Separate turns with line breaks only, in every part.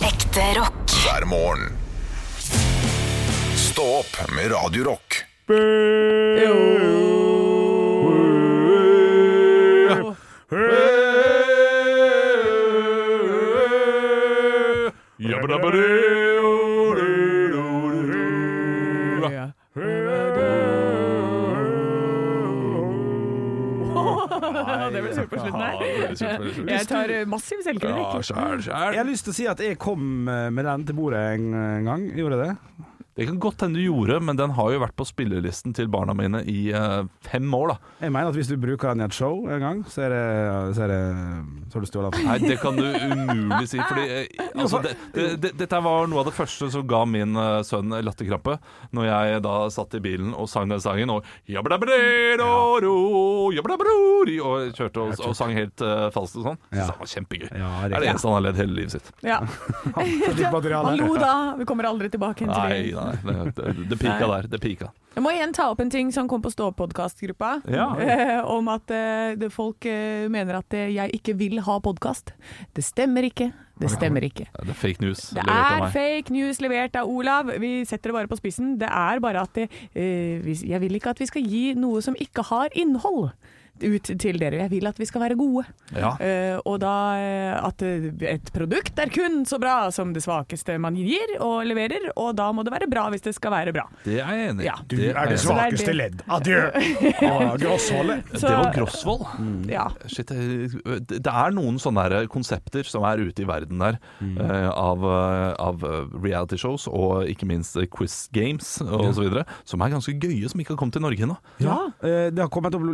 Ekte rock.
hver morgen. Stå opp med Radio Rock.
Det ble surt på slutten her.
Ja, det ble surt på slutten.
Jeg tar eh, massiv
Ja,
selvkritikk.
skjær, skjær.
Jeg har lyst til å si at jeg kom eh, med den til bordet en en gang. Gjorde jeg det?
Det kan godt hende du gjorde, men den har jo vært på spillelisten til barna mine i eh, fem år, da.
Jeg mener at hvis du bruker den i et show en gang, så er det, eh, så er det Så har du stjålet den.
Nei, det kan du umulig si, fordi eh, altså, det, det, det, Dette var noe av det første som ga min eh, sønn latterkrampe, når jeg da satt i bilen og sang den sangen, og jabbadabbadero, jabbadabberori, og kjørte og, og sang helt eh, falskt og sånn. Så
Ja.
det var kjempegøy.
Ja,
det er det eneste han har ledd hele livet sitt.
Ja.
Ditt materiale.
Hallo da, vi kommer aldri tilbake igjen til
Nei,
det.
nei, det, det, det pika
Nei.
der. Det pika.
Jeg må igjen ta opp en ting som kom på Stå-podkast-gruppa.
Ja.
Eh, om at eh, det, folk eh, mener at eh, jeg ikke vil ha podkast. Det stemmer ikke. Det stemmer ikke.
Det er fake news.
Det
levert av
er
meg.
fake news levert av Olav. Vi setter det bare på spissen. Det er bare at det, eh, vi- jeg vil ikke at vi skal gi noe som ikke har innhold ut til dere. Jeg vil at vi skal være gode.
Ja.
Eh, og da eh, at eh, et produkt er kun så bra som det svakeste man gir og leverer, og da må det være bra hvis det skal være bra.
Det er jeg enig i.
Ja.
Du er det
jeg enig
svak.
i.
svakeste ledd. Adjø! Ah, Grossholdet.
Så-
Det var Grosvold.
Ja.
Shit, jeg- det er noen sånne her konsepter som er ute i verden der,
Mm.
eh, av, eh, av eh, reality shows og ikke minst eh, quiz games osv., som er ganske gøye, som ikke har kommet til Norge ennå.
Ja.
Eh, Det har kommet opp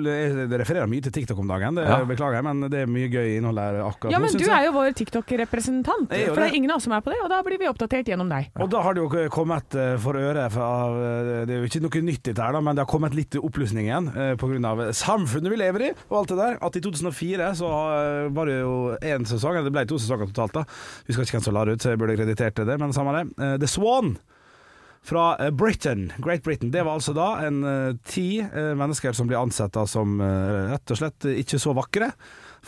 Jeg refererer mye til TikTok om dagen, det
Ja.
beklager jeg, men det er mye gøy innhold her akkurat
ja,
nå,
men du
synes jeg.
er jo vår TikTok-representant, for
Jeg gjør
det er
det.
ingen av oss som er på det, og da blir vi oppdatert gjennom deg.
Og da har det jo kommet eh, for øre fra- av eh, Det er jo ikke noe nytt dette her, da, men det har kommet litt opplysning igjen eh, på grunn av samfunnet vi lever i og alt det der. At i 2004 så eh, var det jo én sesong, eller det ble to sesonger totalt, da. Husker ikke hvem som la det ut, så jeg burde kreditert det, men samme det. Eh, The Swan. Fra eh, Britain, Great Britain. Det var altså da en eh, ti eh, mennesker som blir ansett da som eh, rett og slett ikke så vakre.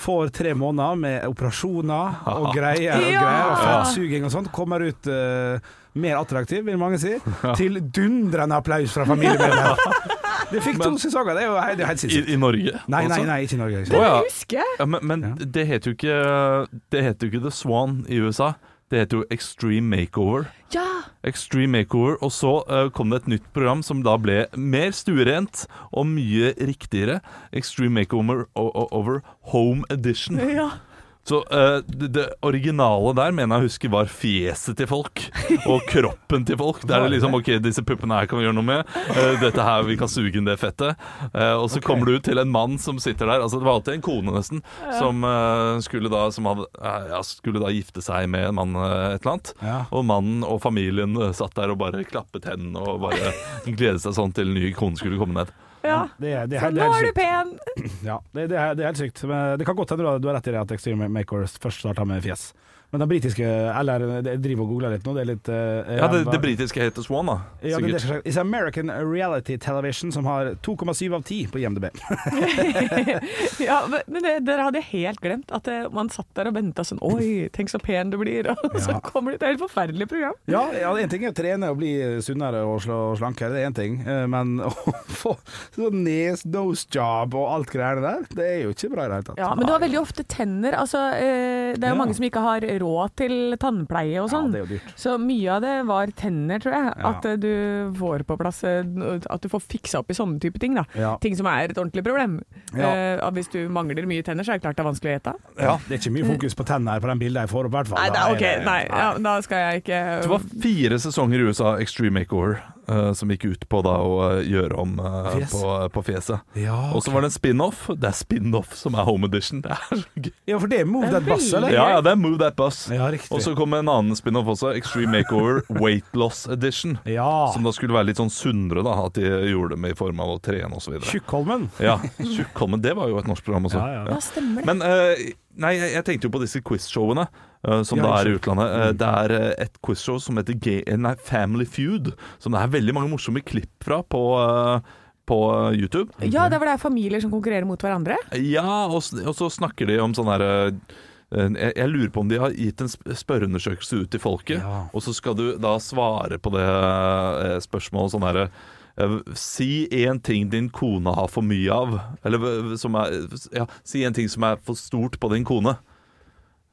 Får tre måneder med operasjoner og greier og
Ja!
greier. Og fettsuging og sånt. Kommer ut eh, mer attraktiv, vil mange si. Til dundrende applaus fra familiemedlemmer. Det fikk to sesonger, det er jo he- det er helt
I,
sinnssykt.
I Norge.
Nei, nei,
altså.
nei, ikke i Norge.
Å,
Ikke.
ja.
Husker jeg?
Ja, men men
Ja.
det heter jo ikke Det heter jo ikke The Swan i USA. Det heter jo Extreme Makeover.
Ja!
Extreme Makeover, og så eh, kom det et nytt program som da ble mer stuerent og mye riktigere. Extreme Makeover o- o- over Home Edition.
ja.
Så eh, det, det originale der mener jeg å huske var fjeset til folk og kroppen til folk. Der det liksom OK, disse puppene her kan vi gjøre noe med. Eh, dette her, vi kan suge inn det fettet. Eh, og så kommer du til en mann som sitter der, altså det var alltid en kone nesten, som, eh, skulle, da, som hadde, eh, ja, skulle da gifte seg med en mann eh, et eller annet.
Ja.
Og mannen og familien eh, satt der og bare klappet hendene og bare gledet seg sånn til en ny kone skulle komme ned.
ja.
Det, er- det, er-
Så
det
nå
er
er du
helt sykt.
pen!
Ja, det, det, er, det er helt sykt. Men det kan godt hende du har- du har rett i det at Extreme Makeovers først starta med fjes. Men den britiske Eller jeg driver og googler litt nå, det er litt eh,
Ja, det,
ræva.
det britiske heter Swan, da.
Ja, det er det
Sikkert.
som er sagt. It's American Reality Television som har 2,7 av 10 på IMDb.
Ja, men- men det, dere hadde helt glemt at eh, man satt der og venta sånn Oi, tenk så pen du blir. Og så
Ja.
kommer det et helt forferdelig program.
Ja, ja, en ting er å trene og bli sunnere og slå- slankere, det er én ting. Eh, Men å få sånn nes, nose job og alt greiene der, det er jo ikke bra i det hele tatt.
Ja, Men du har veldig ofte tenner. Altså, eh, det er jo
Ja.
mange som ikke har råd til tannpleie og
Ja,
sånn.
det er jo dyrt.
så mye av det var tenner, tror jeg.
Ja.
At eh, du får på plass eh, At du får fiksa opp i sånne type ting. da
Ja.
Ting som er et ordentlig problem.
Ja.
Eh, og hvis du mangler mye tenner, så er det klart det er vanskelig å gjete.
Ja, det er ikke mye fokus på tennene her på den bildet jeg får opp, i hvert fall.
Nei, da,
Da er
ok,
det-
nei, ja, da skal jeg ikke
Det var
Um,
fire sesonger i USA, Extreme Makeover, eh, som gikk ut på da å eh, gjøre om eh,
Fjes.
på, på fjeset.
Ja.
Og så var det en spin-off. Det er spin-off som er Home Edition. Det er så gøy.
ja, for det er Move
Det er
That Bass, eller?
veldig-
Ja, ja, det er Move That Bus.
Ja, riktig.
Og så kom en annen spin-off også, Extreme Makeover Weight Loss Edition.
Ja.
Som da skulle være litt sånn sunnere, da, at de gjorde det med i form av å trene osv.
Tjukkholmen.
Ja, Tjukkholmen. Det var jo et norsk program også.
Ja, ja.
Ja, stemmer det.
Men eh, nei, jeg jeg tenkte jo på disse quizshowene eh, som
Ja,
da er i
ikke
utlandet.
Mm.
Eh, det er eh, et quizshow som heter Ga- eh, nei, Family Feud, som det er veldig mange morsomme klipp fra på, eh, på eh, YouTube.
Ja, det var det familier som konkurrerer mot hverandre.
Ja, og, s- og så snakker de om sånn her eh, en- jeg, jeg lurer på om de har gitt en sp- spørreundersøkelse ut til folket,
Ja.
og så skal du da svare på det eh, spørsmålet sånn herre eh, Si én ting din kone har for mye av. Eller eh, som er Ja, si en ting som er for stort på din kone.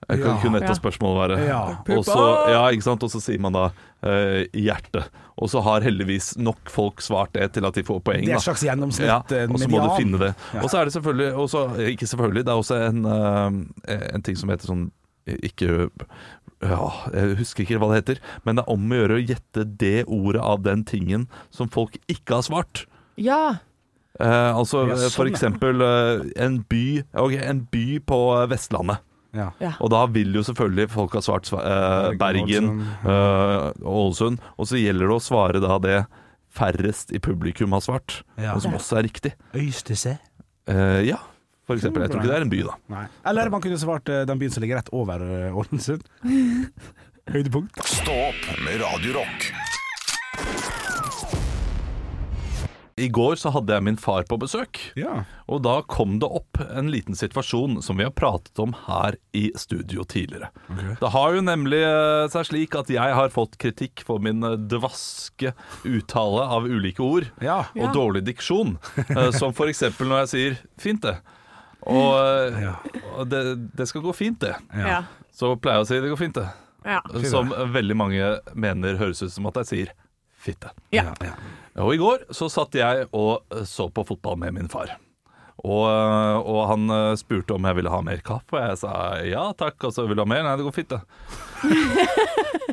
Jeg kan
Ja.
kunne ett
Ja.
av spørsmålene være.
Ja.
Og så, ja, ikke sant? Og så sier man da eh, hjerte. Og så har heldigvis nok folk svart det til at de får poeng.
Det er
da.
et slags gjennomsnitt.
Ja,
eh,
og så må du
median.
finne det.
Ja.
Og så er det selvfølgelig og så- eh, Ikke selvfølgelig, det er også en, eh, en ting som heter sånn Ikke ja, Jeg husker ikke hva det heter, men det er om å gjøre å gjette det ordet av den tingen som folk ikke har svart.
Ja.
Eh, altså
Ja, sånn,
for
ja.
eksempel eh, en by Ok, en by på eh, Vestlandet.
Ja.
ja.
Og da vil jo selvfølgelig folk ha svart sva- eh, Bergen, eh, Ålesund. Og så gjelder det å svare da det færrest i publikum har svart,
Ja.
og som også er riktig.
Øystese?
Eh, ja, for eksempel. Jeg tror ikke det er en by, da.
Nei. Eller man kunne svart eh, den byen som ligger rett over eh, Ålesund. Høydepunkt.
Stå opp med Radio Rock.
I går så hadde jeg min far på besøk,
Ja.
og da kom det opp en liten situasjon som vi har pratet om her i studio tidligere. Det har jo nemlig eh, seg slik at jeg har fått kritikk for min eh, dvaske uttale av ulike ord.
ja.
Ja.
og dårlig diksjon. Eh, Som for eksempel når jeg sier 'fint, det'. Og eh,
Ja.
og det, det skal gå fint, det.
Ja.
Så pleier jeg å si 'det går fint, det'.
Ja.
Som veldig mange mener høres ut som at jeg sier 'fitte'.
Ja.
Og i går så satt jeg og eh, så på fotball med min far. Og, eh, og han eh, spurte om jeg ville ha mer kaffe, og jeg sa ja takk. Og så ville han mer. Nei, det går fint, det.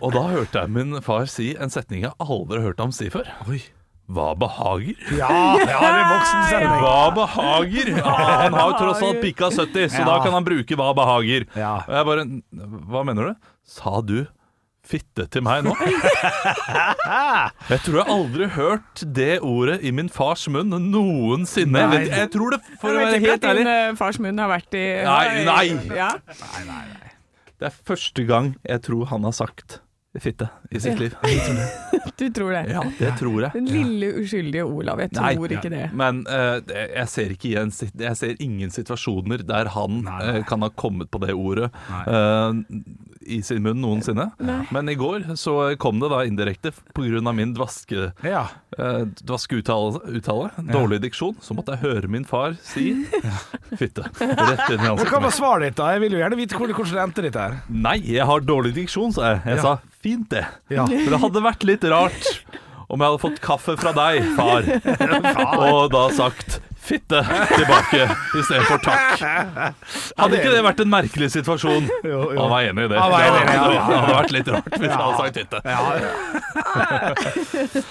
og da hørte jeg min far si en setning jeg aldri har hørt ham si før. Hva behager?
Ja, ja, det er voksen sending.
Hva behager? Ja, han har jo tross alt pikka 70, så
Ja.
da kan han bruke hva behager.
Ja.
Og jeg bare Hva mener du? Sa du fitte til meg nå? Jeg tror jeg aldri har hørt det ordet i min fars munn noensinne. Jeg, vet, jeg tror det, for å
jeg
være
vet ikke
helt
at din
ærlig
eh, fars munn har vært i
Nei, nei.
Ja.
Det er første gang jeg tror han har sagt fitte i sitt liv.
Du tror det.
Ja, det tror jeg.
Den lille uskyldige Olav, jeg
Nei,
tror ikke det.
men eh, det- jeg, ser ikke igjen, sit- jeg ser ingen situasjoner der han
Nei, nei.
eh, kan ha kommet på det ordet
Nei.
eh, i sin munn noensinne. Men i går så kom det da indirekte pga. min dvaske,
Ja.
eh, dvaske uttale, uttale, dårlig diksjon, så måtte jeg høre min far si fitte rett inn i
Men hva
ansiktet.
var
mitt.
svaret ditt, da? Jeg vil jo gjerne vite hvordan, hvordan det endte, dette her.
Nei, jeg har dårlig diksjon, sa jeg. Jeg
Ja.
sa fint det.
Ja.
For det hadde vært litt rart om jeg hadde fått kaffe fra deg, far, og da sagt fitte tilbake istedenfor takk. Hadde ikke det vært en merkelig situasjon?
Jo, jo.
Han var enig i det.
Han var enig i det, ja, ja, ja.
Det hadde vært litt rart hvis jeg hadde sagt fitte.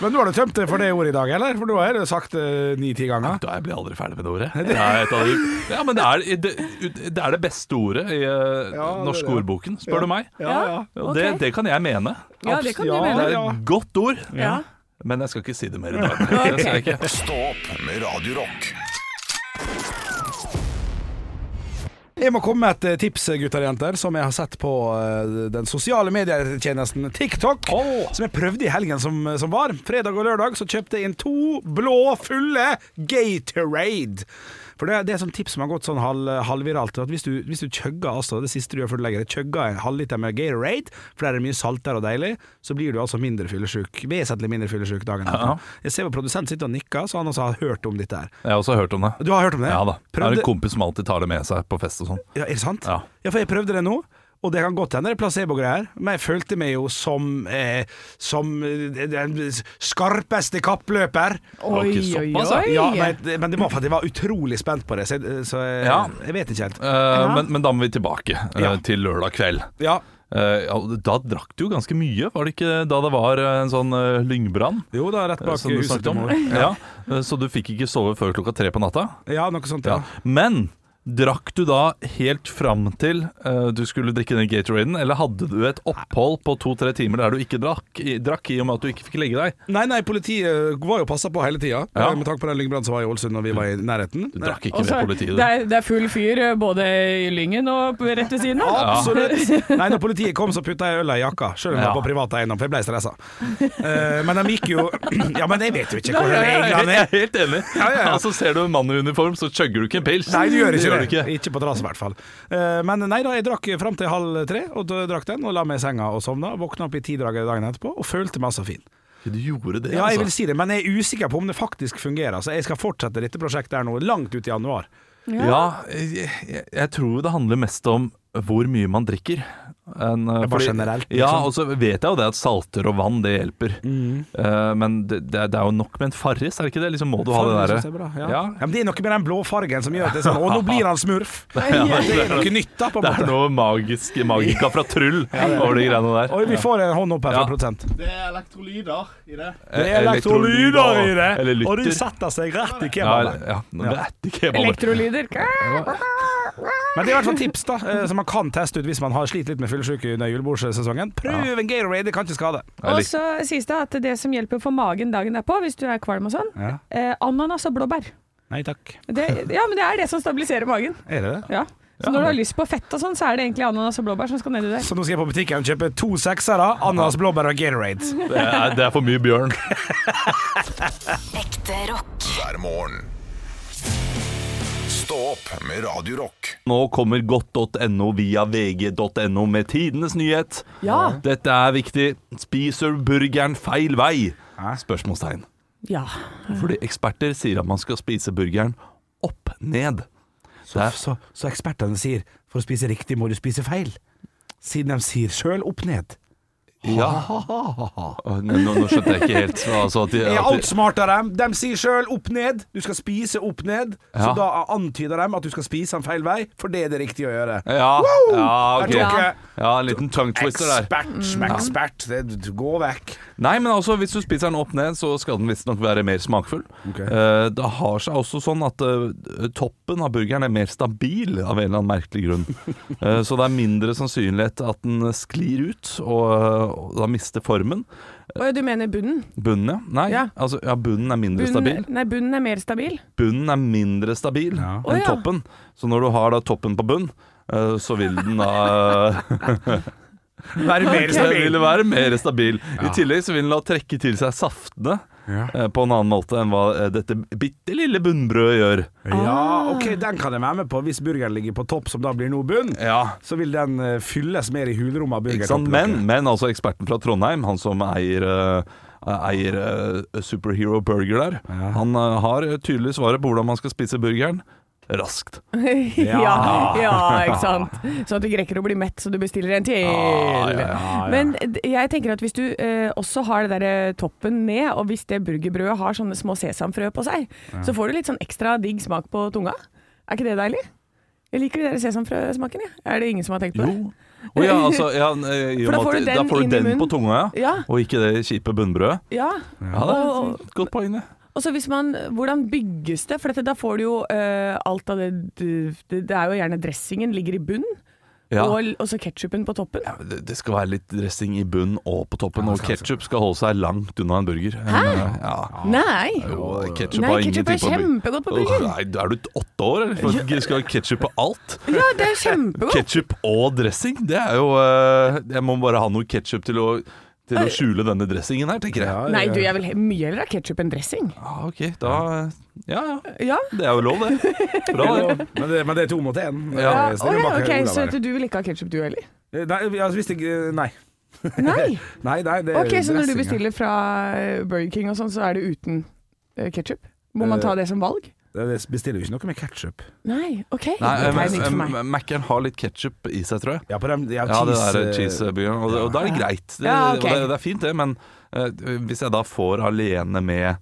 Men nå har du tømt det for det ordet i dag, eller? For nå har jeg sagt eh, ni-ti ganger.
Da jeg blir aldri ferdig med det ordet. Det er et av de, ja, men det er det, det er det beste ordet i eh,
Ja, det-
norske ordboken,
ja.
spør du meg.
ja.
Og det,
ok.
det kan jeg mene.
Ja, det kan du
Det
Ja,
mene.
er et godt ord,
Ja.
men jeg skal ikke si det mer i dag. Det skal jeg ikke.
Stå opp med Radio Rock.
Jeg må komme med et eh, tips, gutter og jenter, som jeg har sett på eh, den sosiale medietjenesten TikTok. Som jeg prøvde i helgen som, eh, som var. Fredag og lørdag så kjøpte jeg inn to blå, fulle Gatorade. For det, det er sånn tips som har gått sånn halv, halvviralt. At hvis du, hvis du chugger altså, det siste du gjør før du legger deg, chugger en halvliter med Gatorade, for der er det mye salt der og deilig, så blir du altså mindre fyllesyk. Vesentlig mindre fyllesyk dagen etter. Jeg ser hvor produsenten sitter og nikker, så han også har hørt om dette her.
Jeg har også hørt om det.
Du har hørt om det?
Ja da. Jeg har
Prøvde-
en kompis som alltid tar det med seg på fest og sånn.
Ja, er det sant?
Ja.
for jeg prøvde det nå, og det kan godt hende det er placebo-greier, men jeg følte meg jo som, eh, som eh, den skarpeste kappløper.
Oi,
Ok,
oi,
såpass,
oi.
Ja, men, men det var fordi jeg var utrolig spent på det, så jeg, så jeg,
Ja.
jeg vet ikke helt.
Eh, men, men da må vi tilbake eh,
Ja.
til lørdag kveld.
Ja.
Eh, ja, da drakk du jo ganske mye, var det ikke da det var eh, en sånn eh, lyngbrann?
Jo da, rett
eh,
bak
Som du
huset
snakket
til
om.
mor.
Ja. eh, Så du fikk ikke sove før klokka tre på natta?
Ja, noe sånt. Ja.
Ja. Men drakk du da helt fram til eh, du skulle drikke den Gatoraden, eller hadde du et opphold på to-tre timer der du ikke drakk, i, drakk i og med at du ikke fikk legge deg?
Nei, nei, politiet eh, var jo passa på hele tida,
Ja.
eh, med tanke på den lyngbrannen som var i Ålesund når vi var i nærheten.
Du drakk ikke
Og så-
ved politiet?
Det er, det er full fyr eh, både i Lyngen og på- rett ved siden av.
Absolutt. Nei, når politiet kom, så putta jeg øla i jakka, sjøl om jeg
Ja.
var på privat eiendom, for jeg ble stressa. Eh, men de gikk jo Ja, men jeg vet jo ikke hvordan
Jeg
reglene
er
er.
helt enig.
ja, ja.
Altså Ser du en mann i uniform, så chugger du ikke en pils.
Nei, du gjør ikke
gjør du ikke.
Ikke på trass, i hvert fall. Eh, Men nei da, jeg drakk fram til halv tre, og da drakk den, og la meg i senga og sovna. Våkna opp i tidraget dagen etterpå og følte meg så fin.
Du gjorde det,
Ja, jeg vil
altså.
si det, men jeg er usikker på om det faktisk fungerer. Så jeg skal fortsette dette prosjektet her nå, langt ut i januar.
Ja, jeg, jeg, jeg tror det handler mest om hvor mye man drikker. Enn, eh,
Bare generelt,
Ja,
liksom. Mm.
og så vet jeg jo det at salter og vann, det hjelper. Eh, men det, det er- det er jo nok med en Farris, er det ikke det? Liksom må du ha det
Fargen synes jeg er
derre
bra, ja.
Ja.
Ja, men det er noe med den blåfargen som gjør at det er sånn Å, nå blir han smurf! Det er noe nytt, da, på en
Det er
måte.
noe magisk magika fra Tryll over de greiene der.
Oi, vi får en hånd opp her
Ja.
fra prosent.
Det er elektrolyder i det.
Det
Eh,
er elektrolyder i det,
Eller lytter.
og de setter seg rett i
ja,
kebaben.
ja, men det er ikke kebaber.
Elektrolyder.
Men det er i hvert fall tips da eh, som man kan teste ut hvis man har slitt litt med fyllesyke under julebordsesongen. Prøv en Gatorade, det kan ikke skade.
Jeg
Og
lik-
så sies det at det som hjelper for magen dagen derpå, hvis du er kvalm og sånn,
Ja.
eh, ananas og blåbær.
Nei takk.
Det, ja, men det er det som stabiliserer magen.
Er det det?
Ja. Så når du har lyst på fett og sånn, så er det egentlig ananas og blåbær som skal ned i der.
Så nå skal jeg på butikken og kjøpe to seksere, ananas, blåbær og Gatorade.
Det er, det er for mye bjørn.
Ekte rock.
hver morgen. Stå opp med Radio Rock.
Nå kommer godt.no via vg.no med tidenes nyhet.
Ja.
Dette er viktig. Spiser burgeren feil vei? Spørsmålstegn.
ja.
Fordi eksperter sier at man skal spise burgeren opp ned.
Så, så, så ekspertene sier for å spise riktig må du spise feil. Siden de sier sjøl opp ned.
Ja. Å, Nå, nå nå skjønte jeg ikke helt. Altså at de,
Jeg er
at de,
outsmarter dem. De sier sjøl opp ned. Du skal spise opp ned.
Ja.
Så da antyder de at du skal spise den feil vei, for det er det riktige å gjøre.
ja, ja, ok.
Jeg tok
ja,
eh,
en liten tongue twister der.
ekspert,
Mm.
smekspert. Det- Gå vekk.
Nei, men altså, hvis du spiser den opp ned, så skal den visstnok være mer smakfull.
Ok.
Eh, det har seg også sånn at eh, toppen av burgeren er mer stabil, av en eller annen merkelig grunn. Eh, så det er mindre sannsynlighet at den sklir ut, og, og da mister formen.
Og du mener bunnen?
Bunnen, ja. Nei,
Ja.
altså, ja, bunnen er mindre
Bunnen,
stabil.
nei, bunnen er mer stabil.
Bunnen er mindre stabil enn
Å, ja.
toppen. Så når du har da toppen på bunn, eh, så vil den da
Være mer
Den vil
stabil.
være mer stabil. I tillegg så vil den da trekke til seg saftene eh, på en annen måte enn hva eh, dette bitte lille bunnbrødet gjør.
Ah.
Ja, OK, den kan jeg være med på. Hvis burgeren ligger på topp, som da blir nå bunn,
Ja,
så vil den eh, fylles mer i hulrommet av
ikke sant?
burgertopplokket.
Men, men altså eksperten fra Trondheim, han som eier eh, Eier eh, Superhero Burger der. Han eh, har tydelig svaret på hvordan man skal spise burgeren raskt.
ja. ja, ikke sant. Sånn at du ikke rekker å bli mett, så du bestiller en
Ah,
til. Men d- jeg tenker at hvis du eh, også har det der eh, toppen ned, og hvis det burgerbrødet har sånne små sesamfrø på seg, så får du litt sånn ekstra digg smak på tunga. Er ikke det deilig? Jeg liker den der sesamfrøsmaken, jeg. Er det ingen som har tenkt på det?
Jo. Å ja, altså ja, eh, i og
For da
med
får
at-
du
Da
den
får
inn
du
i
den på
munnen.
tunga, ja.
Ja.
Og ikke det kjipe bunnbrødet.
ja.
Ja, det er
Og-
et godt poeng, det.
Og så hvis man, Hvordan bygges det? For dette, da får du jo eh, alt av det, det Det er jo gjerne dressingen ligger i bunn,
Ja.
og, og så ketsjupen på toppen.
Ja, men Det det skal være litt dressing i bunn og på toppen, og ketsjup skal holde seg langt unna en burger. Hæ? Ja.
Nei!
Jo, ketchup
Nei,
har
ketsjup
ingenting
er
på burger.
kjempegodt på
Åh,
burger.
nei, er du åtte år, eller? For du skal ha ketsjup på alt?
Ja, det er kjempegodt.
Ketsjup og dressing? Det er jo eh, Jeg må bare ha noe ketsjup til, å- til å skjule denne dressingen her, tenker jeg.
Nei, du, jeg vil he- mye heller ha ketsjup enn dressing.
Ah, ok, da Ja ja,
Ja.
det er jo lov, det. Bra, det.
Men det, men det er to mot Eh, én.
Ja,
Jeg
å
stiller
ja,
bak
ok,
Olav
Så
her.
du vil ikke ha ketsjup du heller?
Eh, Nei, altså, hvis ikke Nei.
Nei.
nei, nei det er
Ok, Så når du
dressing, ja.
bestiller fra eh, Burger King og sånn, så er det uten ketsjup? Må man ta det som valg?
Det- Det bestiller jo ikke noe med ketsjup.
Nei, ok.
Nei, eh,
det er
men-
nytt for meg.
men Mac-en har litt ketsjup i seg, tror jeg.
Ja, på dem, ja,
Ja, det
cheese,
der
eh,
cheeseburgeren. Og, og da er det greit. Det,
Ja, ok.
og det, det er fint, det. Men eh, hvis jeg da får alene med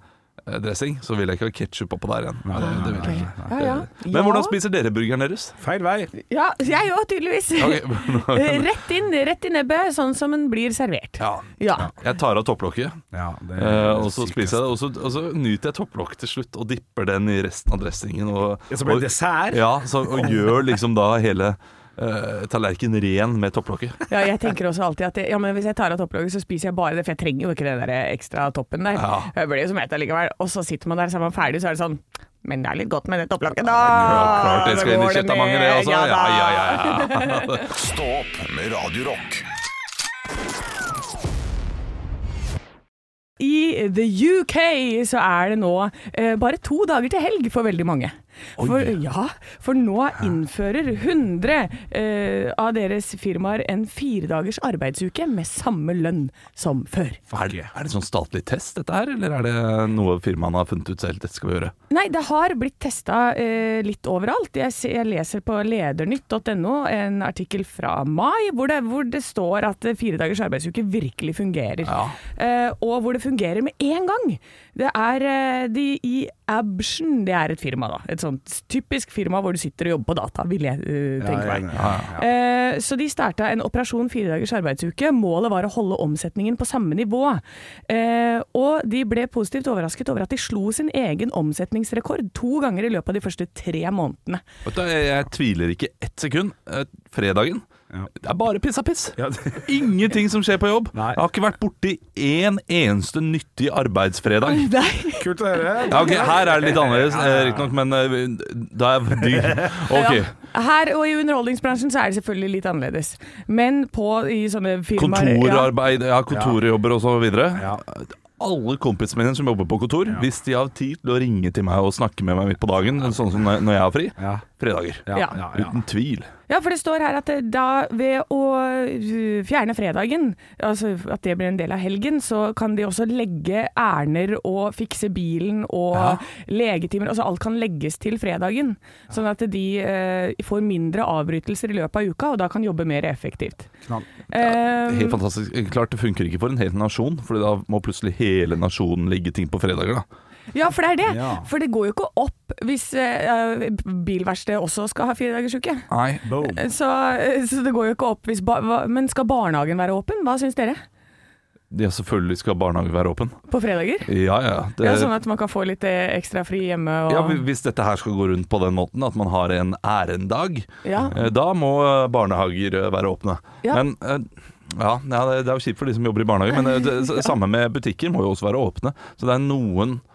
eh, dressing, så vil jeg ikke ha ketsjup oppå der igjen. det, det vil jeg ikke.
Ja, Ah, ja.
Eh, Men hvordan
Ja.
spiser dere burgeren deres?
Feil vei.
Ja, jeg òg, tydeligvis.
Ok.
Eh, rett inn, rett i nebbet, sånn som den blir servert.
Ja.
Ja.
Jeg tar av topplokket,
Ja, det
eh, og så spiser jeg det. Og så, og så nyter jeg topplokket til slutt, og dipper den i resten av dressingen. Og,
Ja, som en
og-
dessert?
Ja, så, og gjør liksom da hele eh, tallerkenen ren med topplokket.
ja, jeg tenker også alltid at det, ja, men hvis jeg tar av topplokket, så spiser jeg bare det, for jeg trenger jo ikke den der eh, ekstra toppen der.
Ja.
Jeg blir jo som et allikevel. Og så sitter man der, så er man ferdig, så er det sånn Men det er litt godt med det topplokket, Ah, da!
Klart det skal inn i
går det
kjøttamangen, det
ned.
også. Ja,
da.
ja, ja. ja.
Stå opp med Radio Rock.
I the UK så er det nå eh, bare to dager til helg for veldig mange. For, ja, for nå innfører 100 eh, av deres firmaer en firedagers arbeidsuke med samme lønn som før.
Er det, er det sånn statlig test dette her, eller er det noe firmaene har funnet ut selv? Dette skal vi gjøre.
Nei, det har blitt testa eh, litt overalt. Jeg, se- jeg leser på ledernytt.no en artikkel fra mai hvor det, hvor det står at eh, fire dagers arbeidsuke virkelig fungerer.
Ja.
Eh, og hvor det fungerer med én gang. Det er eh, de i Absjon, det er et firma da. Et sånt typisk firma hvor du sitter og jobber på data, vil jeg eh, tenke meg. Eh, Så de starta en operasjon fire dagers arbeidsuke. Målet var å holde omsetningen på samme nivå. Eh, Og de ble positivt overrasket over at de slo sin egen omsetningsrekord to ganger i løpet av de første tre månedene.
Vet du, jeg, jeg tviler ikke ett sekund. Eh, Fredagen
Ja.
det er bare piss av piss.
Ja, det-
Ingenting som skjer på jobb.
Nei.
Jeg har ikke vært borti én eneste nyttig arbeidsfredag.
Nei,
Kult å høre.
Ja, ok, Her er det litt annerledes, eh, riktignok, men eh, da er de Ok.
ja. Her og i underholdningsbransjen så er det selvfølgelig litt annerledes. Men på i sånne firmaer
Kontorarbeid, ja, kontorjobber og så videre.
Ja.
Alle kompisene mine som jobber på kontor, hvis de har tid til å ringe til meg og snakke med meg midt på dagen, sånn som når jeg har fri,
Ja.
fredager.
Ja, ja, ja.
Uten tvil.
Ja, for det står her at eh, da ved å eh, fjerne fredagen, altså at det blir en del av helgen, så kan de også legge ærender og fikse bilen og legetimer. Altså alt kan legges til fredagen, sånn at de eh, får mindre avbrytelser i løpet av uka, og da kan jobbe mer effektivt.
Knall.
Eh,
Helt fantastisk. Klart det funker ikke for en hel nasjon, for da må plutselig hele nasjonen legge ting på fredager. da.
Ja, for det er det.
Ja.
For det går jo ikke opp hvis uh, bilverkstedet også skal ha firedagersuke.
Nei.
Boom.
Så, eh, så det går jo ikke opp hvis ba hva- Men skal barnehagen være åpen? Hva syns dere?
Ja, selvfølgelig skal barnehage være åpen.
På fredager?
Ja, ja. Det,
Ja, sånn at man kan få litt eh, ekstra fri hjemme og
ja, hvis dette her skal gå rundt på den måten, at man har en ærendag,
Ja.
Eh, Da må eh, barnehager eh, være åpne.
Ja.
Men eh, ja, ja, det det er jo kjipt for de som jobber i barnehage, men eh, det, s- samme med butikker må jo også være åpne. Så det er noen eh,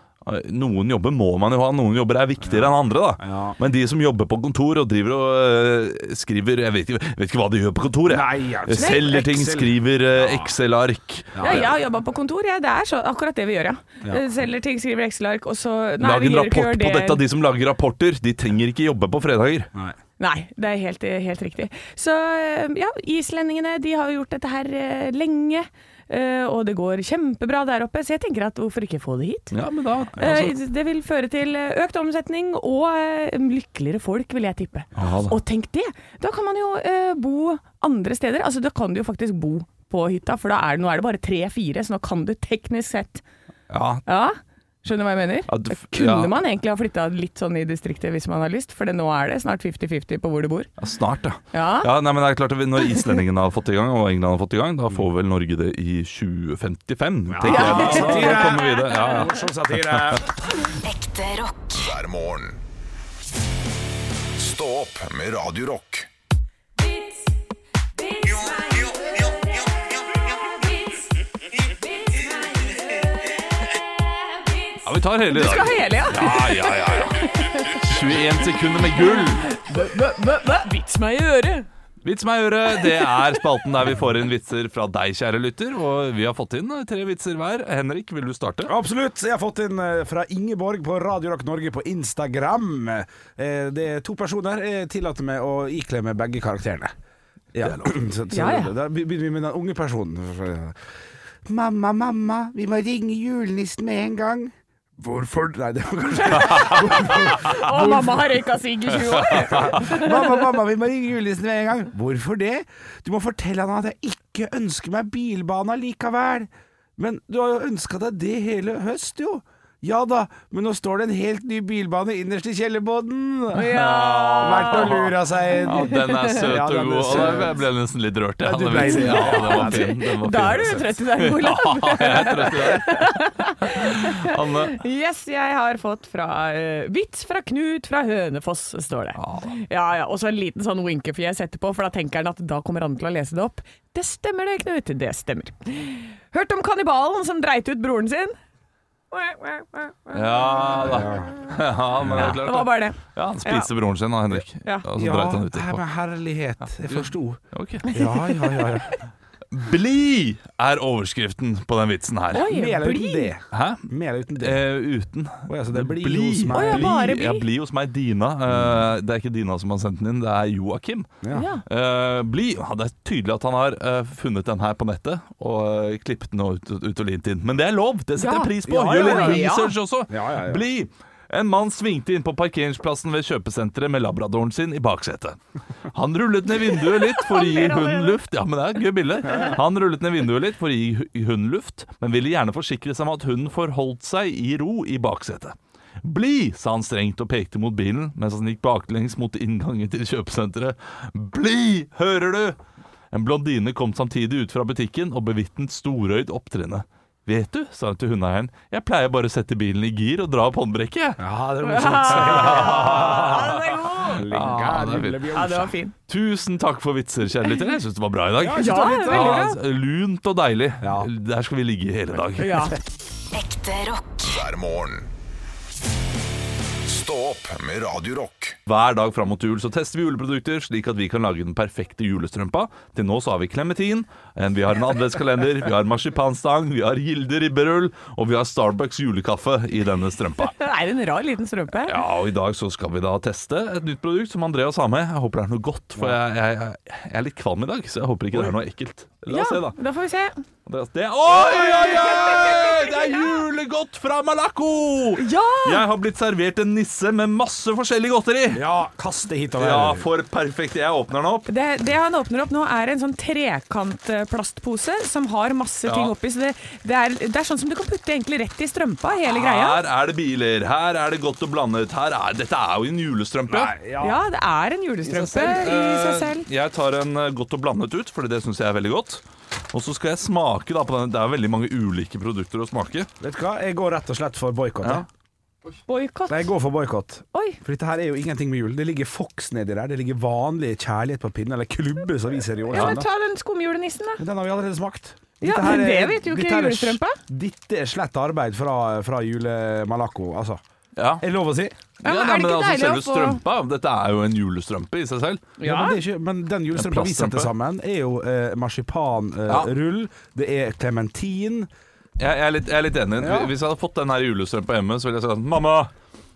noen jobber må man jo ha, noen jobber er viktigere enn andre. da
Ja.
Men de som jobber på kontor og driver og eh, skriver Jeg vet ikke, jeg vet ikke hva de gjør på kontor. Jeg.
Nei, jeg-
eh, Selger ting,
Excel.
skriver eh, Excel-ark.
Ja, jeg har jobba på kontor, jeg. Det er så, akkurat det vi gjør, ja. Eh, Selger ting, skriver Excel-ark, og så Nei,
Lag
vi
en
gjør ikke gjør
rapport på
det.
dette. De som lager rapporter, de trenger ikke jobbe på fredager.
Nei.
Nei, det er helt, helt riktig. Så eh, ja, islendingene de har jo gjort dette her eh, lenge, eh, og det går kjempebra der oppe, så jeg tenker at hvorfor ikke få det hit?
Ja, altså. men da
Eh, Det vil føre til eh, økt omsetning og eh, lykkeligere folk, vil jeg tippe.
Ja da.
og tenk det! Da kan man jo eh, bo andre steder. Altså, da kan du jo faktisk bo på hytta, for da er, det- nå er det bare tre-fire, så nå kan du teknisk sett
ja,
Ja, skjønner du hva jeg mener?
Ja, det f-
Kunne
ja.
man egentlig ha flytta litt sånn i distriktet hvis man har lyst, for det, nå er det snart 50-50 på hvor du bor.
ja, snart, ja.
Ja.
Ja, nei, men det er klart at vi- Når islendingene har fått det i gang, og England har fått det i gang, da får vel Norge det i 2055, tenker
Ja,
jeg. Så
satire.
da kommer vi det. Ja, ja.
Morsom satire.
Ekte rock.
hver morgen. Stå opp med Radio Rock.
ja, vi tar hele i dag.
Skal hele, ja!
Ja, ja, ja, ja. 21 sekunder med gull.
Vits meg i øret!
Vits meg i øret, det er spalten der vi får inn vitser fra deg, kjære lytter. Og vi har fått inn tre vitser hver. Henrik, vil du starte?
Absolutt. Jeg har fått inn eh, fra Ingeborg på Radio Rock Norge på Instagram. Eh, Det er to personer. Jeg tillater meg å ikle meg begge karakterene. Ja. Så, så,
Ja, ja.
Da begynner vi med den unge personen. Mamma, mamma, vi må ringe julenissen med en gang. Hvorfor Nei, det var kanskje
Å, mamma har røyka sigg i 20 år!
Mamma, mamma, vi må ringe julenissen med en gang. Hvorfor det? Du må fortelle han at jeg ikke ønsker meg bilbane likevel. Men du har jo ønska deg det hele høst, jo. Ja da, men nå står det en helt ny bilbane innerst i kjellerboden.
Ja.
Verdt å lure seg inn.
Ja, den er søt
Ja,
og
den er
god. Og da
søt.
ble jeg ble nesten litt rørt. Ja,
Ja, du
den
ble
vitsen.
det.
ja, den var fin. Den var
Da er
fin.
du trøtt i dag, Olav.
Ja, jeg er trøtt i dag. Anne.
Yes, jeg har fått fra eh, Vits fra Knut fra Hønefoss, står det. Ja, ja, Og så en liten sånn winkefjes etterpå, for da tenker han at da kommer han til å lese det opp. Det stemmer det, Knut. Det stemmer. Hørt om kannibalen som dreit ut broren sin?
Ja da. Ja, men det er
Det
klart.
var
da.
bare det.
Ja, han spiste broren sin da, Henrik.
Ja.
Og så
Ja,
dreit han ut
nei,
etterpå.
men herlighet, jeg forsto.
Ok.
Ja, ja, ja. ja.
Bli er overskriften på den vitsen her.
Oi,
Med eller uten
bli.
det.
Hæ?
Med eller uten det.
Eh, uten.
Oi, altså, det blir hos meg. Mm.
Å, ja, bare bli.
Ja, bli hos meg, Dina. Eh, det er ikke Dina som har sendt den inn, det er Joakim.
Ja.
Eh, bli. Ja, det er tydelig at han har eh, funnet den her på nettet og eh, klippet den ut, ut og limt inn. Men det er lov! Det setter
Ja.
jeg pris på!
Ja, ja,
Gjør litt
ja.
research også.
Ja, ja, ja.
Bli! En mann svingte inn på parkeringsplassen ved kjøpesenteret med labradoren sin i baksetet. Han rullet ned vinduet litt for å gi hunden luft. Ja, men det er et gøy bilde. Han rullet ned vinduet litt for å gi hu- hunden luft, men ville gjerne forsikre seg om at hunden forholdt seg i ro i baksetet. Bli, sa han strengt og pekte mot bilen mens han gikk baklengs mot inngangen til kjøpesenteret. Bli, hører du! En blondine kom samtidig ut fra butikken og bevitnet storøyd opptrinnet. Vet du, sa hun til hundeeieren, jeg pleier bare å sette bilen i gir og dra opp håndbrekket, jeg.
Ja, det er
Ja, den er god!
Ja, det er fint.
morsomt.
Ja, det var fin.
Tusen takk for vitser, kjære lytter. Jeg syns det var bra i dag.
jeg synes det var fint,
ja.
Ja, altså, lunt og deilig.
Ja.
Der skal vi ligge i hele dag.
Ja.
Ekte rock.
hver morgen. Stå opp med Radio Rock.
Hver dag fram mot jul så tester vi juleprodukter, slik at vi kan lage den perfekte julestrømpa. Til nå så har vi klementin, en- vi har en adventskalender, vi har marsipanstang, vi har Gilde ribberull, og vi har Starbucks julekaffe i denne strømpa.
Det er en rar liten strømpe.
Ja, og I dag så skal vi da teste et nytt produkt som Andreas har med. Jeg håper det er noe godt, for jeg, jeg, jeg, jeg er litt kvalm i dag, så jeg håper ikke det er noe ekkelt. La oss se, da.
Da får vi se.
Andreas, det Oi, oi, oi! Det er julegodt fra Malaco!
Ja!
Jeg har blitt servert en nisse med masse forskjellig godteri.
Ja, kast det hit og der.
Ja, for perfekt. Jeg åpner den opp.
Det, det han åpner opp nå, er en sånn trekantplastpose som har masse ting oppi. Så det, det, er, det er sånn som du kan putte egentlig rett i strømpa, hele greia.
Her er det biler, her er det godt og blandet. Her er, dette er jo en julestrømpe.
Nei, ja.
Ja, det er en julestrømpe i seg selv.
Eh, Jeg tar en eh, godt og blandet ut, for det syns jeg er veldig godt. Og så skal jeg smake da på den. Det er veldig mange ulike produkter å smake.
Vet du hva, jeg går rett og slett for boikott.
Ja. Eh,
Boikott.
Jeg går for boikott.
Oi.
For dette her er jo ingenting med jul. Det ligger Fox nedi der. Det ligger vanlig kjærlighet på pinnen, eller klubbe som viser i år.
Ja, men ta den skumjulenissen, da.
Men den har vi allerede smakt.
Ja,
Dette her
men
er-
det vet jo ikke
dette her er-
julestrømpa.
Dette er slett arbeid fra, fra jule-Malaco, altså.
Ja.
Er det lov å si?
Ja, men
Ja, nei,
er det
men
ikke
altså,
deilig å
selve
få-
strømpa Dette er jo en julestrømpe i seg selv.
Ja, men, det er ikke, men den julestrømpa vi
plaststrømpe.
setter sammen, er jo eh,
Ja.
marsipanrull, det er klementin
Jeg, jeg, er, litt, jeg er litt enig.
Ja.
Hvis jeg hadde fått den her julestrømpa hjemme, så ville jeg sagt Mamma,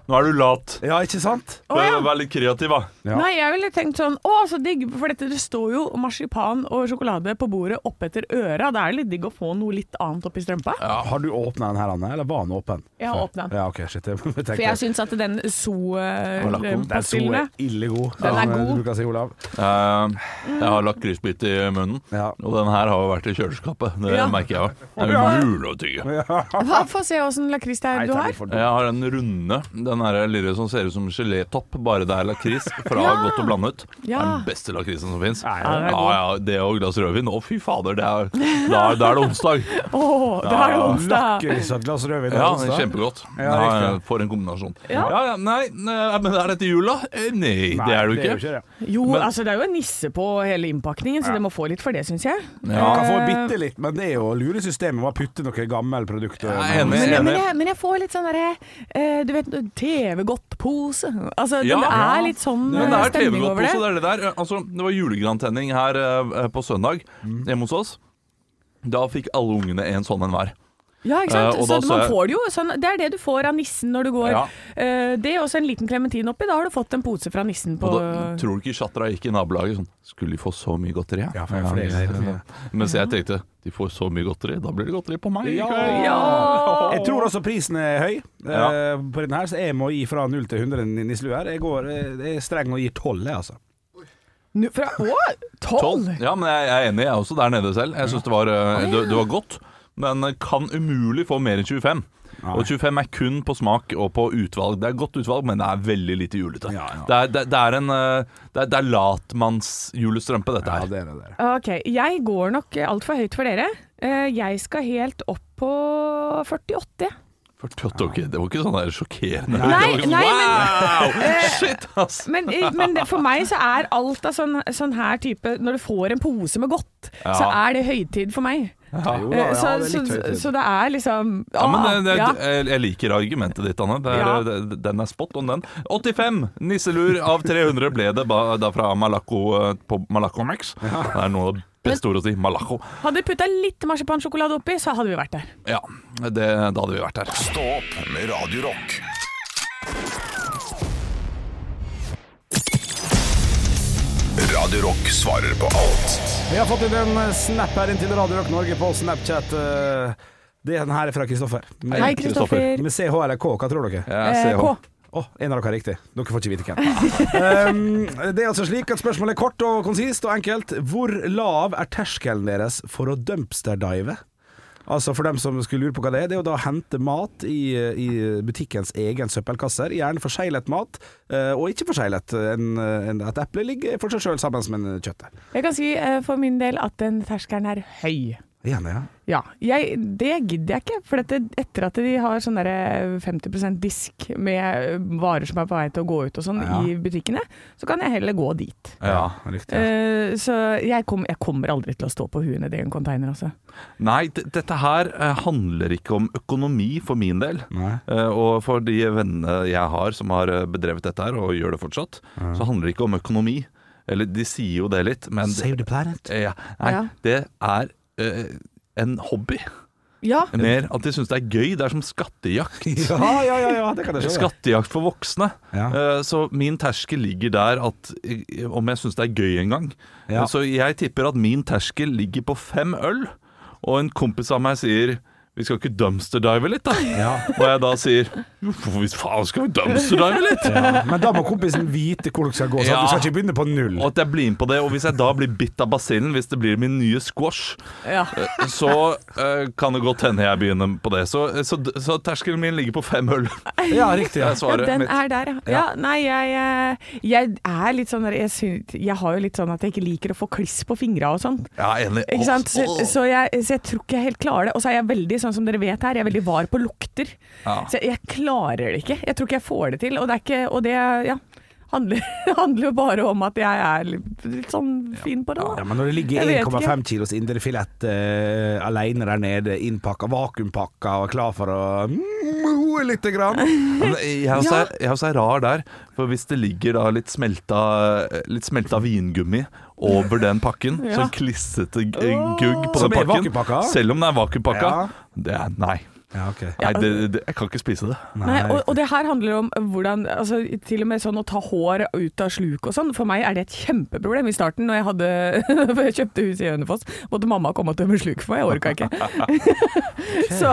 nå er du lat.
Ja, ikke sant?
Å, ja.
Vær litt kreativ, da.
Ja.
Nei, jeg ville tenkt sånn Å, så digg, for dette, det står jo marsipan og sjokolade på bordet oppetter øra. Det er litt digg å få noe litt annet oppi strømpa.
Har du åpna den her, Anne? Eller var den åpen?
Jeg har åpnet den.
Ja, ok, shit, jeg må tenke.
For jeg syns at den
Malaco.
Den så
zoo-pastillene
er ille god,
Ehm, Den er
som, eh,
god.
du bruker å si, Olav.
Eh, jeg har lakrisbit i munnen,
Ja.
og den her har jo vært i kjøleskapet. Det
Ja.
merker jeg jo. Det er umulig å tygge.
Hva- Få se åssen lakris det er du har.
Jeg har den runde, den her lille som ser ut som gelétopp, bare det er lakris fra
Ja.
godt og blandet. Det er
Ja.
den beste lakrisen som fins.
Nei,
Ja,
den
er god.
ja, det og et glass rødvin. Å, fy fader, det er, da, er, da er det onsdag.
Å, det er jo onsdag.
Lakris og et glass rødvin.
Ja,
også.
kjempegodt.
Ja,
Ja,
riktig.
for en kombinasjon. Ja.
Ja.
Ja, nei, nei, men er dette jul, da? Eh, Nei,
Nei,
det er det jo
jo
ikke.
det.
Jo,
Men-
altså det er jo en nisse på hele innpakningen, så det må få litt for det, syns jeg.
Ja,
Ja.
man får bitte litt, men det er jo å lure systemet med å putte noe gammelt produkt og-
Jeg er enig.
Men, men, jeg, men jeg får litt sånn derre eh, Du vet, TV-godtpose. Altså,
Ja.
det er litt sånn
Men det
eh,
er
stemning
TV-godt
over
også,
det.
det er det der. Eh, Altså, det var julegrantenning her eh, på søndag hjemme hos oss. Da fikk alle ungene en sånn en hver.
Ja, ikke sant?
Eh, og da
så
så
man
jeg-
får det jo sånn Det er det du får av nissen når du går.
Ja.
Eh, det er også en liten klementin oppi. Da har du fått en pose fra nissen på
Og da tror du ikke Chatra gikk i nabolaget sånn Skulle de få så mye godteri?
Ja, for jeg får det hele tiden.
Mens jeg tenkte de får så mye godteri, da blir det godteri på meg. i kveld.
Ja. Jeg tror også prisen er høy eh,
Ja.
på den her, så jeg må gi fra 0 til 100 i nisselue her. Jeg, går, eh, jeg er streng og gir 12, jeg, altså.
Nå- Fra, å,
Tolv.
tolv!
Ja, men jeg, jeg er enig, jeg er også der nede selv. Jeg syns det, var, eh, det, det var godt, men kan umulig få mer enn 25. Og 25 er kun på smak og på utvalg. Det er godt utvalg, men det er veldig lite julete.
Ja, ja.
Det, er, det, det er en eh, Det er, det er latmannsjulestrømpe, dette
Ja,
her.
det er det der.
Ok, jeg går nok altfor høyt for dere. Eh, Jeg skal helt opp på 48.
48, ok, Det var ikke sånn der sjokkerende.
Nei,
Det var ikke sånn,
nei,
wow!
eh,
Shit, ass!
Men, eh, men det, for meg så er alt av sånn, sånn her type Når du får en pose med godt,
Ja.
så er det høytid for meg.
Jo
Eh, så,
ja, det er
så,
litt høyt.
så det er liksom
Ja, men det, det,
ah, ja.
Jeg, jeg liker argumentet ditt, Anne. Det er,
Ja.
det, den er spot on, den. 85 nisselur av 300 ble det ba, da fra Malaco eh, på Malaco Max. Det er noe av det Beste ord å si malacho.
Hadde de putta litt marsipansjokolade oppi, så hadde vi vært der.
Ja, det, da hadde vi vært her.
Stå opp med Radio Rock. Radio Rock svarer på alt.
Vi har fått inn en eh, snap her inn til Radio Rock Norge på Snapchat. eh, Det er den her er fra Kristoffer. Med,
Hei,
Kristoffer.
Kristoffer.
med CH eller K, hva tror dere?
Ja,
Eh,
CH.
K.
Å, en av dere har riktig. Dere får ikke vite hvem. um, det er altså slik at spørsmålet er kort og konsist og enkelt. Hvor lav er terskelen deres for å dumpsterdive? Altså For dem som skulle lure på hva det er, det er å da hente mat i, i butikkens egen søppelkasser. Gjerne forseglet mat, eh, og ikke forseglet. En, en, et eple ligger for seg sjøl sammen med kjøttet.
Jeg kan si eh, for min del at den terskelen er høy.
Gjerne, ja.
Ja, jeg, det gidder jeg ikke. For dette, etter at de har sånn derre 50 disk med varer som er på vei til å gå ut og sånn
Ja.
i butikkene, så kan jeg heller gå dit.
Ja.
Riktig.
Eh, så jeg, kom, jeg kommer aldri til å stå på huet nedi en container, altså.
Nei, d- dette her eh, handler ikke om økonomi for min del.
Nei.
Eh, og for de vennene jeg har som har eh, bedrevet dette her, og gjør det fortsatt, så handler det ikke om økonomi. Eller de sier jo det litt, men
Save the planet.
Eh, ja. Nei,
Ja.
det er eh, en hobby.
Ja,
Mer at de syns det er gøy. Det er som skattejakt.
Ja, ja, ja, ja, det kan jeg skjønne.
Skattejakt for voksne.
Ja.
Eh, Så min terskel ligger der at eh, om jeg syns det er gøy en gang.
Ja.
Så jeg tipper at min terskel ligger på fem øl, og en kompis av meg sier vi skal ikke dumpsterdive litt, da? Og jeg da sier jo, for hvis faen skal vi dumpsterdive litt?
Ja. Men da må kompisen vite hvor dere skal gå, så
Ja.
du skal ikke begynne på null.
Og at jeg blir med på det. Og hvis jeg da blir bitt av basillen, hvis det blir min nye squash,
ja.
eh, så eh, kan det godt hende jeg begynner på det. Så, så, så terskelen min ligger på fem øl.
Ja, riktig.
Det
Ja.
er svaret
ja, den
mitt.
er der, ja. ja nei, jeg, eh, jeg er litt sånn der jeg, syns- jeg har jo litt sånn at jeg ikke liker å få kliss på fingra og sånn.
Ja, enig.
Ikke sant? Så, så, jeg, så jeg tror ikke jeg helt klarer det. Og så er jeg veldig sånn som dere vet her, jeg er veldig var på lukter.
Ja.
Så jeg, jeg klarer det ikke. Jeg tror ikke jeg får det til. Og det, er ikke, og det ja, handler, handler jo bare om at jeg er litt, litt sånn fin på det.
Ja,
Da.
men når det ligger
Jeg vet
1,5 kilos indrefilet uh, alene der nede, innpakka, vakuumpakka og klar for å moe litt grann.
Men jeg også, er, jeg også er rar der, for hvis det ligger da litt smelta, litt smelta vingummi over den pakken,
Ja.
sånn klissete g- gugg på
Som
den
er
pakken,
vakuumpakka?
selv om den er vakuumpakka,
Ja.
det er nei.
Ja, ok.
Nei, det, det, jeg kan ikke spise det.
Nei, og, og det her handler om hvordan altså, Til og med sånn å ta hår ut av sluk og sånn. For meg er det et kjempeproblem. I starten, når jeg, hadde, for jeg kjøpte hus i Hønefoss, måtte mamma komme og tømme sluk for meg. Jeg orka ikke. så,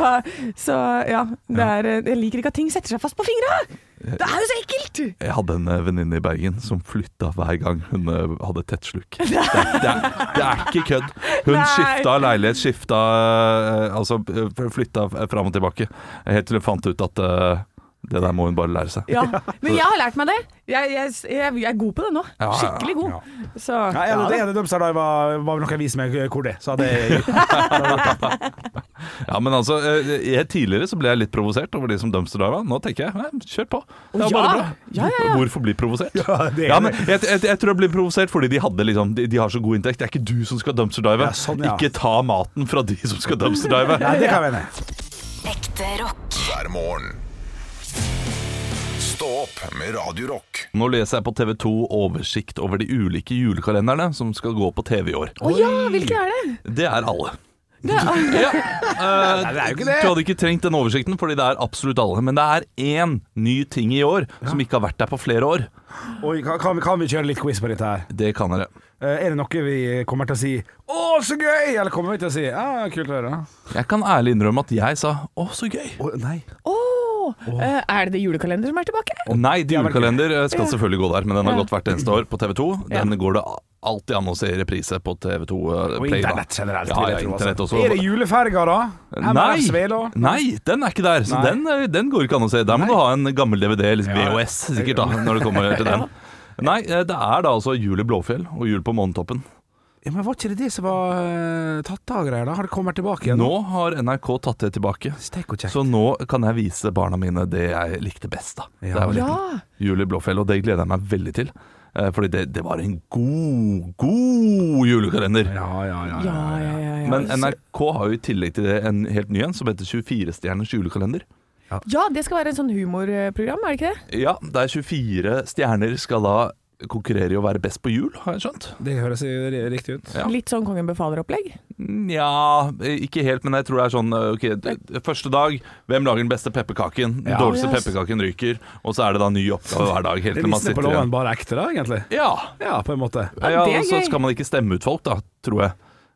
så ja. Det er, jeg liker ikke at ting setter seg fast på fingra! Det er jo så ekkelt!
Jeg hadde en eh, venninne i Bergen som flytta hver gang hun eh, hadde tettsluk. Det, er- det, er- det er ikke kødd. Hun
Nei.
skifta leilighet, skifta eh, Altså eh, flytta fram og tilbake, eh, helt til hun fant ut at eh, det der må hun bare lære seg.
Ja. Men jeg har lært meg det. Jeg, jeg, jeg, jeg er god på det nå.
Ja, ja, ja.
Skikkelig god. Så
Ja, er det,
ja,
er det dumpster da var, var nok en vis med hvor det så hadde jeg-
Ja, men altså, eh, jeg, Tidligere så ble jeg litt provosert over de som dumpsterdiva. Nå tenker jeg nei, kjør på. Det
Å,
er bare
ja.
bra.
Ja, ja, ja.
Hvorfor bli provosert?
Ja, det er
men jeg, jeg, jeg tror jeg blir provosert fordi de hadde liksom de, de har så god inntekt. Det er ikke du som skal dumpsterdive.
Ja, sånn, ja.
Ikke ta maten fra de som skal dumpsterdive.
Nei, det kan jeg mene.
Ekte rock.
hver morgen. Stå opp med Radio Rock.
Nå leser jeg på TV 2 oversikt over de ulike julekalenderne som skal gå på TV i år.
Å ja, hvilken er det?
Det er alle.
Det er,
Ja. Eh,
Nei, det er jo ikke
Du
det.
hadde ikke trengt den oversikten, fordi det er absolutt alle. Men det er én ny ting i år som ikke har vært der på flere år.
Oi, kan, kan, vi, kan vi kjøre litt quiz på dette her?
Det kan dere.
Eh, er det noe vi kommer til å si 'Å, så gøy'? Eller kommer vi til å si 'Ja, kult å høre'?
Jeg kan ærlig innrømme at jeg sa 'Å, så gøy'.
Å, nei.
Åh, eh, er det det julekalender som er tilbake?
Nei, de
Ja, vel,
julekalender eh, skal selvfølgelig gå der, men den har
Ja.
gått hvert eneste år på TV 2. Den går det alltid an å se i reprise på TV 2
Og
Play. da.
internett
eh,
generelt.
Ja,
vil
ja,
jeg tro, altså.
internett også.
Er det juleferger, da? MRF Svela?
Nei, nei, den er ikke der, så
Nei.
den, eh, den går ikke an å se. Der må
Nei.
du ha en gammel DVD, eller
Ja.
VHS sikkert, da, når det kommer til den. Nei, eh, det er da altså Jul i Blåfjell og Jul på Månetoppen.
Ja, men Var ikke det det som var eh, tatt av greier, da? Har det kommet tilbake igjen?
Nå har NRK tatt det tilbake,
Steik og kjekt.
så nå kan jeg vise barna mine det jeg likte best. da.
Ja.
Da jeg var
Ja.
liten. Jul i Blåfjell, og det gleder jeg meg veldig til. Eh, Fordi det, det var en god, god julekalender.
Ja, ja, ja.
Ja, ja, ja, ja.
Men NRK har jo i tillegg til det en helt ny en som heter 24-stjerners julekalender.
ja, det skal være en sånn humorprogram, er det ikke det?
Ja, det er 24 stjerner skal da konkurrerer i å være best på hjul, har jeg skjønt.
Det høres jo ri- riktig ut.
Ja.
Litt sånn Kongen befaler-opplegg.
Nja, ikke helt, men jeg tror det er sånn ok, d- Første dag, hvem lager den beste pepperkaken? Den
Ja.
dårligste
Yes.
pepperkaken ryker, og så er det da ny oppgave hver dag. Helt
Det
til man
visste på
sitter igjen.
loven bare ekte, da, egentlig.
Ja,
Ja, på en måte.
Ja,
ja
det er
og så
gøy.
skal man ikke stemme ut folk, da, tror jeg.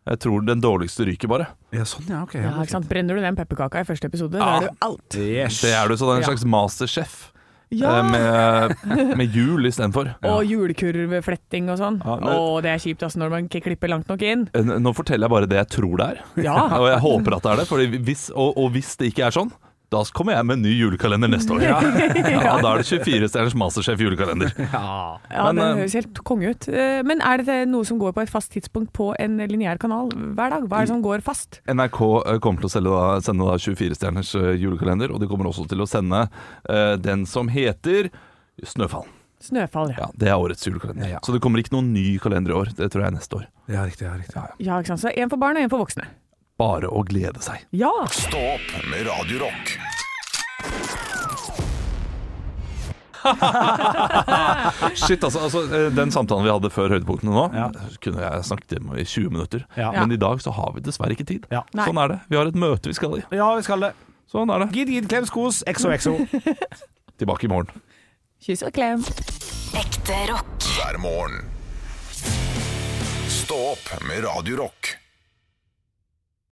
Jeg tror den dårligste ryker bare.
Ja, sånn, ja, ok.
Ja, ikke sant? Brenner du den pepperkaka i første episode,
Ja.
da er du out.
Yes.
Det er du, så det er en
Ja.
slags masterchef
Ja!
eh, med, med hjul istedenfor.
Og julekurvefletting og sånn.
Ja, men-
Å, det er kjipt altså, når man ikke klipper langt nok inn.
Eh, Nå forteller jeg bare det jeg tror det er,
Ja.
og jeg håper at det er det. Fordi hvis, og, og hvis det ikke er sånn, da kommer jeg med en ny julekalender neste år. Ja, Da er det 24-stjerners masterchef julekalender.
Ja,
Men,
Den
eh,
høres helt konge ut. Eh, Men er dette noe som går på et fast tidspunkt på en lineær kanal hver dag? Hva er det som går fast?
NRK eh, kommer til å selge da, sende da 24-stjerners eh, julekalender, og de kommer også til å sende eh, den som heter Snøfall.
Snøfall, ja.
Ja, Det er årets julekalender.
Ja.
Så det kommer ikke noen ny kalender i år. Det tror jeg er neste år.
Ja, riktig. ja, riktig.
Ja, ikke sant. Så én for barn og én for voksne.
Bare å glede seg.
Ja!
Stå opp med Radio Rock.
Shit, altså, altså eh, Den samtalen vi hadde før høydepunktene nå,
Ja.
kunne jeg snakket om i 20 minutter.
Ja.
Men i dag så har vi dessverre ikke tid.
Ja.
Nei.
Sånn er det. Vi har et møte vi skal i.
Ja, vi skal det.
Sånn er det.
Gid, gid, klems, kos, exo,
Tilbake i morgen.
Kyss og klem.
Ekte rock.
hver morgen. Stå opp med Radio Rock.